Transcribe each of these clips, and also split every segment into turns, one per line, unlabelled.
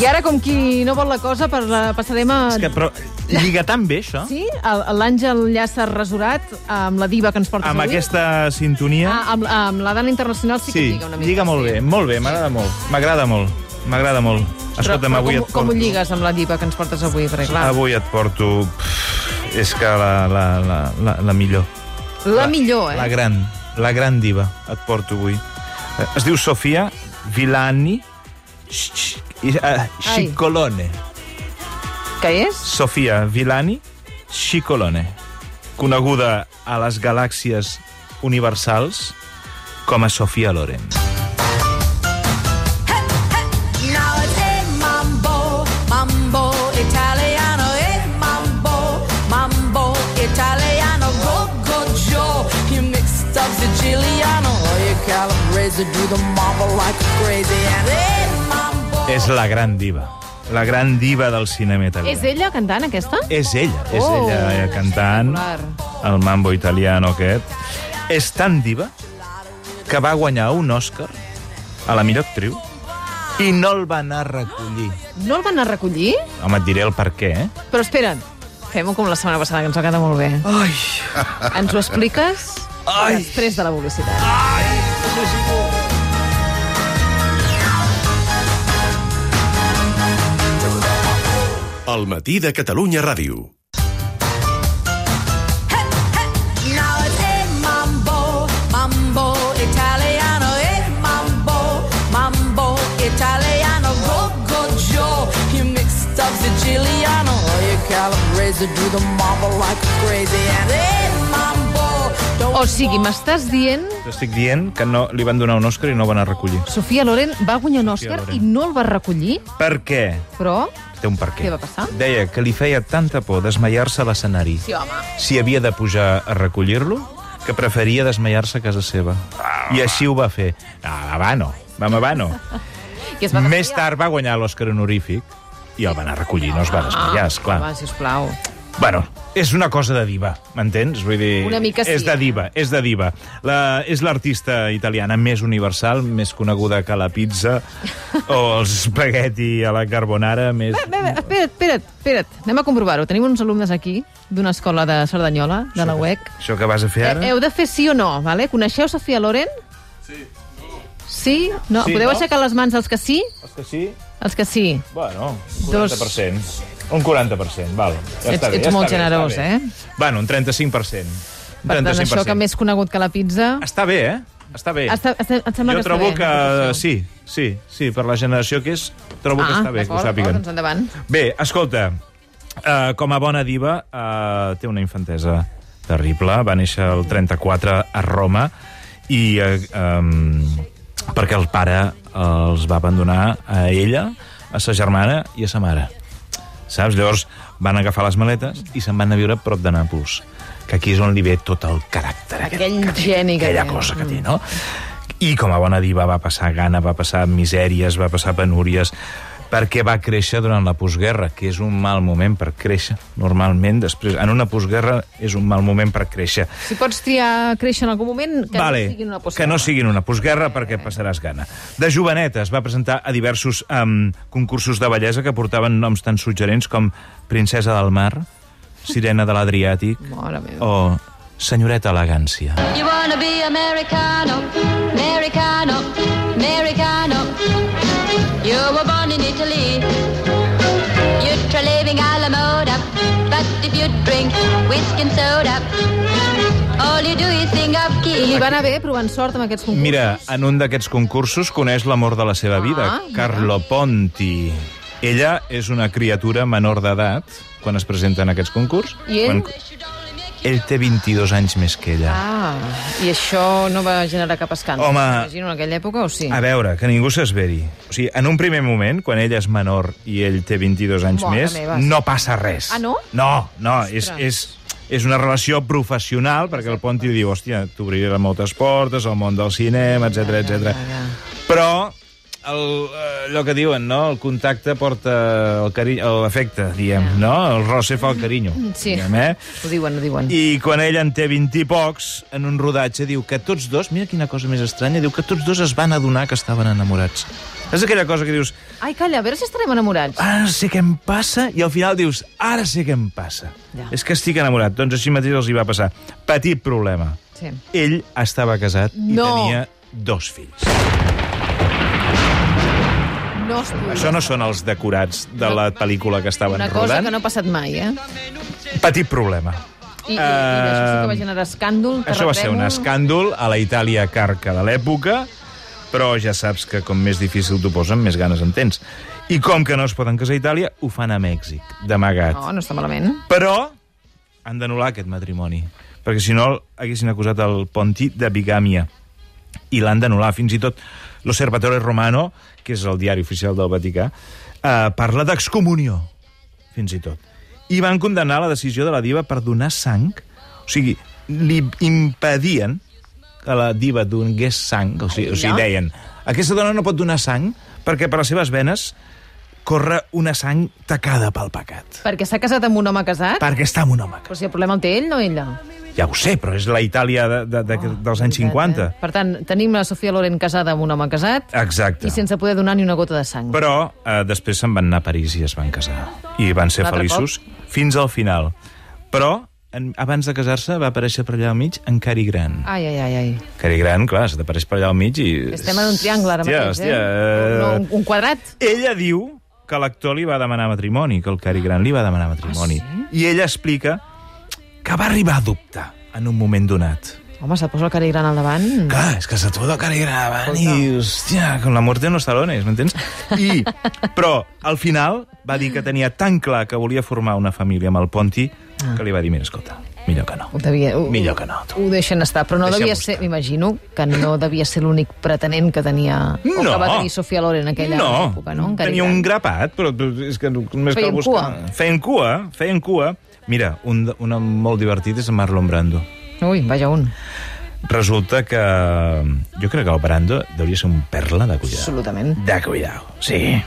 I ara, com qui no vol la cosa, per la, passarem a...
És que, però lliga tan bé, això,
Sí? a- a L'Àngel Llàcer Resurat, amb la diva que ens porta
amb
avui.
aquesta sintonia.
Ah, amb, amb la Dana Internacional sí que lliga una mica.
lliga molt bé, molt bé, m'agrada molt. M'agrada molt, m'agrada molt. Escolta'm,
però, però
avui
com,
et
com
porto...
ho lligues amb la diva que ens portes avui? Perquè, clar,
Avui et porto... pff, És que la, la, la, la, la millor.
la millor, eh?
La gran, la gran diva et porto avui. Eh, Es diu Sofia Villani Scicolone.
Que és?
Sofia Villani Scicolone, coneguda a les galàxies universals com a Sofia Loren.
Now it's hey mambo, mambo italiano, hey mambo, mambo italiano, go go Joe. You mixed up Siciliano, or you Calabrese, do the mambo like crazy and hey mambo.
És la gran diva, la gran diva del cinema italià.
És ella cantant, aquesta?
És ella, és
Oh,
ella eh, cantant
espectacular.
el mambo italiano aquest. És tan diva que va guanyar un Òscar a la millor actriu i no el va anar a recollir.
No el van a recollir?
Home, et diré el per què, eh?
Però espera't, fem-ho com la setmana passada, que ens va quedar molt bé.
Ai,
Ens ho expliques
Ai.
després de la publicitat.
El matí de Catalunya Ràdio.
Now it's hey mambo, mambo italiano, hey mambo, mambo italiano, go go Joe. You mixed up Siciliano, or you Calabrese, do the mambo like crazy and hey mambo. Don't
O sigui, m'estàs dient...
T'estic dient que no, li van donar un Òscar i no el van a recollir.
Sofia Loren va guanyar un Òscar
Loren.
i no el va recollir,
Per què?
però...
Té un per què.
Què va passar?
Deia que li feia tanta por desmaiar-se a l'escenari
Sí, home.
si havia de pujar a recollir-lo que preferia desmaiar-se a casa seva. I així ho va fer. Ah, va, no. Vam a Habano.
I es va
Més
desmaiar.
tard va guanyar l'Òscar honorífic i el van anar a recollir, no es
Ah,
va desmaiar, esclar.
Home, sisplau.
Bueno, és una cosa de diva, m'entens? Vull dir,
Una mica sí,
és de
eh?
diva, és de diva. La, és l'artista italiana més universal, més coneguda que la pizza o els espagueti a la carbonara, més...
Bé, bé, espera't, espera't, espera't. Anem a comprovar-ho. Tenim uns alumnes aquí d'una escola de Cerdanyola, de la UEC.
Això que vas a fer
Eh,
ara...
Heu de fer sí o no, vale? Coneixeu Sofia Loren? Sí. Sí? No?
Sí,
Podeu
no?
aixecar les mans els que sí?
És que sí?
Els que sí.
Bueno, un
Dos.
40%. Un 40%, val. Ja
Ets-
està bé,
ets
ja
molt
està bé,
generós,
està bé.
eh?
Bueno, un 35%. Un
Per tant,
35%.
això que més conegut que la pizza...
Està bé, eh? Està bé.
Està, està, em sembla
jo
que
trobo
està bé.
que... Sí, sí, sí, per la generació que és, trobo que està bé, que ho
d'acord, d'acord,
sàpiguen.
Doncs endavant.
Bé, escolta, uh, com a bona diva uh, té una infantesa terrible. Va néixer el 34 a Roma i uh, um, perquè el pare eh, els va abandonar a ella, a sa germana i a sa mare. Saps? Llavors van agafar les maletes i se'n van anar a viure a prop de Nàpols, que aquí és on li ve tot el caràcter aquest
Aquell geni que
aquella
té. Mm.
cosa que té, no? I com a bona diva va passar gana, va passar misèries, va passar penúries, perquè va créixer durant la postguerra, que és un mal moment per créixer, normalment. Després, en una postguerra és un mal moment per créixer.
Si pots triar créixer en algun moment, que
vale,
no siguin una
que no siguin una postguerra perquè passaràs gana. De joveneta es va presentar a diversos um, concursos de bellesa que portaven noms tan suggerents com Princesa del Mar, Sirena de l'Adriàtic
Mare meva.
o Senyoreta Elegància.
You wanna be Americano, Americano, Americano. You were born in Italy. You try living a la moda, but if you drink whiskey and soda, all you do is think of
I
key.
li va anar bé provant sort amb aquests concursos.
Mira, en un d'aquests concursos coneix l'amor de la seva vida,
Ah, mira.
Carlo Ponti. Ella és una criatura menor d'edat quan es presenta en aquests concurs.
I ell?
Quan... Ell té 22 anys més que ella.
Ah, i això no va generar cap escàndol,
Home.
m'imagino, en aquella època, o sí?
A veure, que ningú s'esveri. O sigui, en un primer moment, quan ella és menor i ell té 22 anys
Mare
més,
meva.
no passa res.
Ah, no?
No, no, és, és, és una relació professional, perquè el Ponti li diu, hòstia, t'obriré moltes portes, al món del cinema, etc etc.
ja, ja.
Però el, eh, allò que diuen, no? El contacte porta el cari- l'afecte, diguem, no? El roce fa el carinyo.
Sí.
Diguem, eh?
Ho diuen, ho diuen.
I quan ell en té 20 i pocs, en un rodatge, diu que tots dos, mira quina cosa més estranya, diu que tots dos es van adonar que estaven enamorats. És aquella cosa que dius,
Ai, calla, a veure si estarem enamorats.
ara sé què em passa, i al final dius, ara sé què em passa.
Ja.
És que estic enamorat. Doncs així mateix els hi va passar. Petit problema.
Sí.
Ell estava casat
No.
i tenia dos fills.
No es pugui.
Això no són els decorats de la pel·lícula que estaven
Una cosa
rodant.
que no ha passat mai, eh?
Petit problema.
I, i, i això sí que va generar escàndol,
Eh, Això va ser un
terratrèmol.
escàndol a la Itàlia carca de l'època, però ja saps que com més difícil t'ho posen, més ganes en tens. I com que no es poden casar a Itàlia, ho fan a Mèxic, d'amagat.
No, no està malament.
Però han d'anul·lar aquest matrimoni, perquè si no haguessin acusat el Ponti de bigàmia i l'han d'anul·lar. Fins i tot l'Osservatore Romano, que és el diari oficial del Vaticà, eh, parla d'excomunió, fins i tot. I van condemnar la decisió de la diva per donar sang, o sigui, li impedien que la diva donés sang, o sigui, o sigui deien, aquesta dona no pot donar sang perquè per les seves venes corre una sang tacada pel pecat
Perquè s'ha casat amb un home casat?
perquè està amb un home.
Però si el problema el té ell, no ella.
Ja ho sé, però és la Itàlia de, de, de,
Ah,
oh, dels anys 50.
Eh? Per tant, tenim la Sofia Loren casada amb un home casat
Exacte.
i sense poder donar ni una gota de sang.
Ah, Però eh, després se'n van anar a París i es van casar. I van ser
Un altre
feliços fins al final. Però en, abans de casar-se va aparèixer per allà al mig en Cary Grant.
Ai, ai, ai, ai.
Cary Grant, clar, se t'apareix per allà al mig i...
Estem en un triangle ara
Hòstia,
mateix, eh?
hòstia,
No,
eh?
un, un quadrat.
Ella diu que l'actor li va demanar matrimoni, que el Cary Grant li va demanar matrimoni.
Ah,
I ella explica que va arribar a dubtar en un moment donat.
Home, se posa el cari gran al davant.
Clar, és que se t'ho toca i gravant i, hòstia, con la muerte en los talones, m'entens? I, però, al final, va dir que tenia tan clar que volia formar una família amb el Ponti
Ah.
que li va dir, mira, escolta, millor que no.
Ho devia, ho,
Millor que no, tu.
Ho deixen estar, però no
Deixem-ho
devia ser...
estar.
M'imagino que no devia ser l'únic pretenent que tenia... O
No.
que va tenir Sofia Loren en aquella
no,
època, no? En Cary
tenia
Grant.
un grapat, però és que només
Feien
cal buscar...
cua.
Feien cua. Feien cua. Mira, un, de- un molt divertit és en Marlon Brando.
Ui, vaja un.
Resulta que... Jo crec que el Brando devia ser un perla de cuidar.
Absolutament.
De cuidar, sí.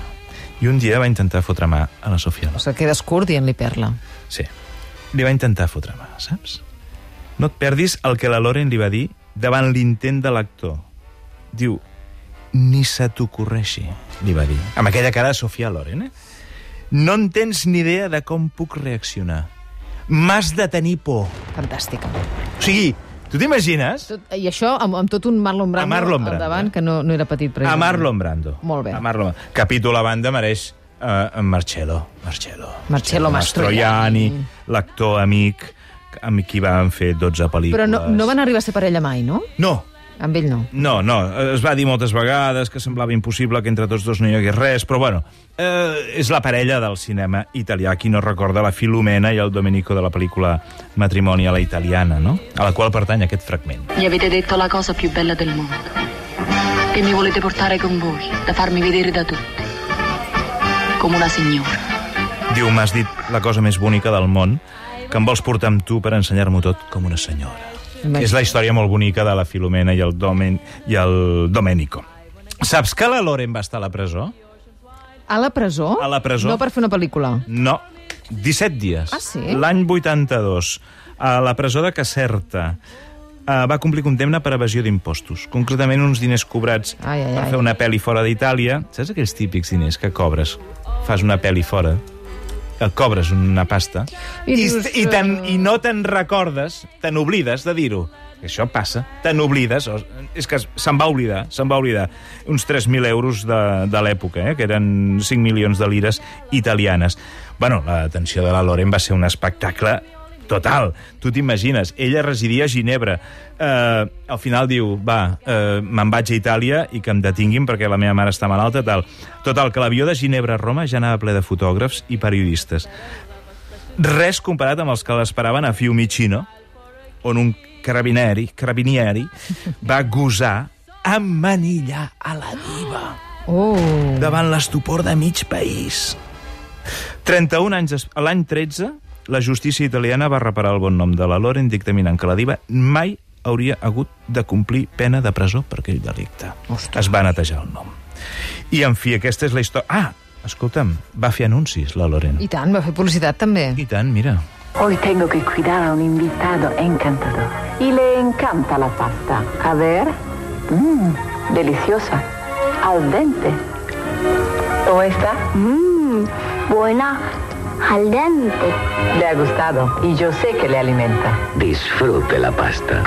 I un dia va intentar fotre mà a la Sofia Loren.
O sigui, quedes curt dient-li perla.
Sí. Li va intentar fotre mà, saps? No et perdis el que la Loren li va dir davant l'intent de l'actor. Diu, ni se t'ocorreixi, li va dir. Amb aquella cara de Sofia Loren, eh? No en tens ni idea de com puc reaccionar. M'has de tenir por.
Fantàstica.
O sigui, tu t'imagines?
Tot, I això amb, amb tot un Marlon Brando,
A Marlon
al
Brando,
davant,
eh?
que no, no era petit.
A
precisament.
Marlon Brando.
Molt bé.
A Marlon. Capítol a banda mereix eh, en Marcello. Marcello.
Marcello Mastroianni.
Mastroianni, l'actor amic, amb qui van fer 12 pel·lícules.
Però no, no van arribar a ser parella mai, no?
No,
Amb ell no.
No, no, es va dir moltes vegades que semblava impossible que entre tots dos no hi hagués res, però bueno, eh, és la parella del cinema italià, qui no recorda la Filomena i el Domenico de la pel·lícula Matrimoni a la italiana, no? A la qual pertany aquest fragment.
Mi avete detto la cosa più bella del mondo. Che mi volete portare con voi, da farmi vedere da tutti. Come una signora.
Diu, m'has dit la cosa més bonica del món, que em vols portar amb tu per ensenyar-m'ho tot com una senyora.
Imagina.
És la història molt bonica de la Filomena i el, Domen i el Domenico. Saps que la Loren va estar a la presó?
A la presó?
A la presó.
No per fer una pel·lícula.
No, 17 dies.
Ah, sí?
L'any 82, a la presó de Caserta, eh, va complir condemna per evasió d'impostos. Concretament, uns diners cobrats
Ai, ai,
per
ai.
fer una pel·li fora d'Itàlia. Saps aquells típics diners que cobres? Fas una pel·li fora, que cobres una pasta,
I
i, i,
dius,
i, te'n-
eh,
i no te'n recordes, te n'oblides de dir-ho. Això passa, te n'oblides. o- És que se'n va oblidar, se'n va oblidar. Uns 3.000 euros de, de l'època, eh? que eren 5 milions de lires italianes. Bueno, la detenció de la Loren va ser un espectacle total. Tu t'imagines, ella residia a Ginebra. Eh, al final diu, va, eh, me'n vaig a Itàlia i que em detinguin perquè la meva mare està malalta, tal. Total, que l'avió de Ginebra a Roma ja anava ple de fotògrafs i periodistes res comparat amb els que l'esperaven a Fiumicino, on un carabineri, carabinieri va gosar emmanillar a la diva
Oh,
davant l'estupor de mig país. 31 anys, des- a l'any 13, la justícia italiana va reparar el bon nom de la Loren dictaminant que la diva mai hauria hagut de complir pena de presó per aquell delicte.
Ostres.
Es va netejar el nom. I, en fi, aquesta és la història... Ah, escolta'm, va fer anuncis, la Loren.
I tant, va fer publicitat també.
I tant, mira.
Hoy tengo que cuidar a un invitado encantador. Y le encanta la pasta. A ver. Mmm, deliciosa. Al dente. ¿O esta?
Mmm, buena al dente.
Le ha gustado. Y yo sé que le alimenta.
Disfrute la pasta.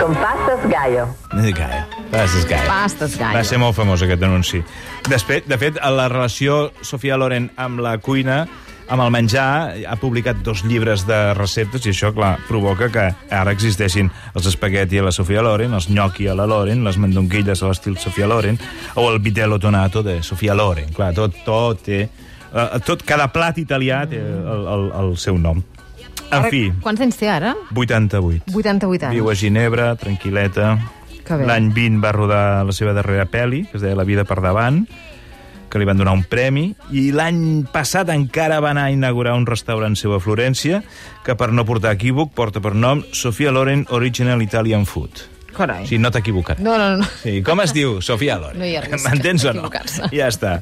Con pastas gallo.
Gaia. Passes Gaia.
Pastes, gaire.
Va ser molt famós aquest anunci. Després, de fet, la relació Sofia Loren amb la cuina amb el menjar, ha publicat dos llibres de receptes i això, clar, provoca que ara existeixin els espagueti a la Sofia Loren, els gnocchi a la Loren, les mandonquilles a l'estil Sofia Loren, o el vitello tonato de Sofia Loren. Clar, tot, tot té... eh, tot, cada plat italià té el, el, el seu nom. En
Ara,
fi,
Quants anys té ara?
88.
88 anys.
Viu a Ginebra, tranquil·leta.
Que bé.
L'any 20 va rodar la seva darrera pel·li, que es deia La vida per davant, que li van donar un premi, i l'any passat encara va anar a inaugurar un restaurant seu a Florència, que per no portar equívoc porta per nom Sofia Loren Original Italian Food.
Carai.
O sigui, no t'equivocaràs.
No, no, no.
Sí, com es diu? Sofia Loren.
No hi ha risc
M'entens o no?
d'equivocar-se.
Ja està.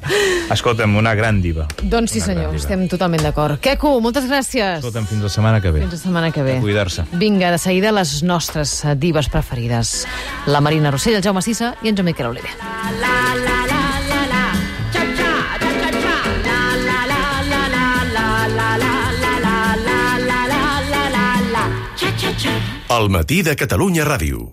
Escolta'm, una gran diva.
Doncs sí,
Una
senyor,
gran diva.
estem totalment d'acord. Queco, moltes gràcies.
Escolta'm, fins la setmana que ve.
Fins la setmana que ve.
A cuidar-se.
Vinga, de seguida les nostres eh, dives preferides. La Marina Rossell, el Jaume Sisa i en Joan Miquel Oliver.
El matí de Catalunya Ràdio.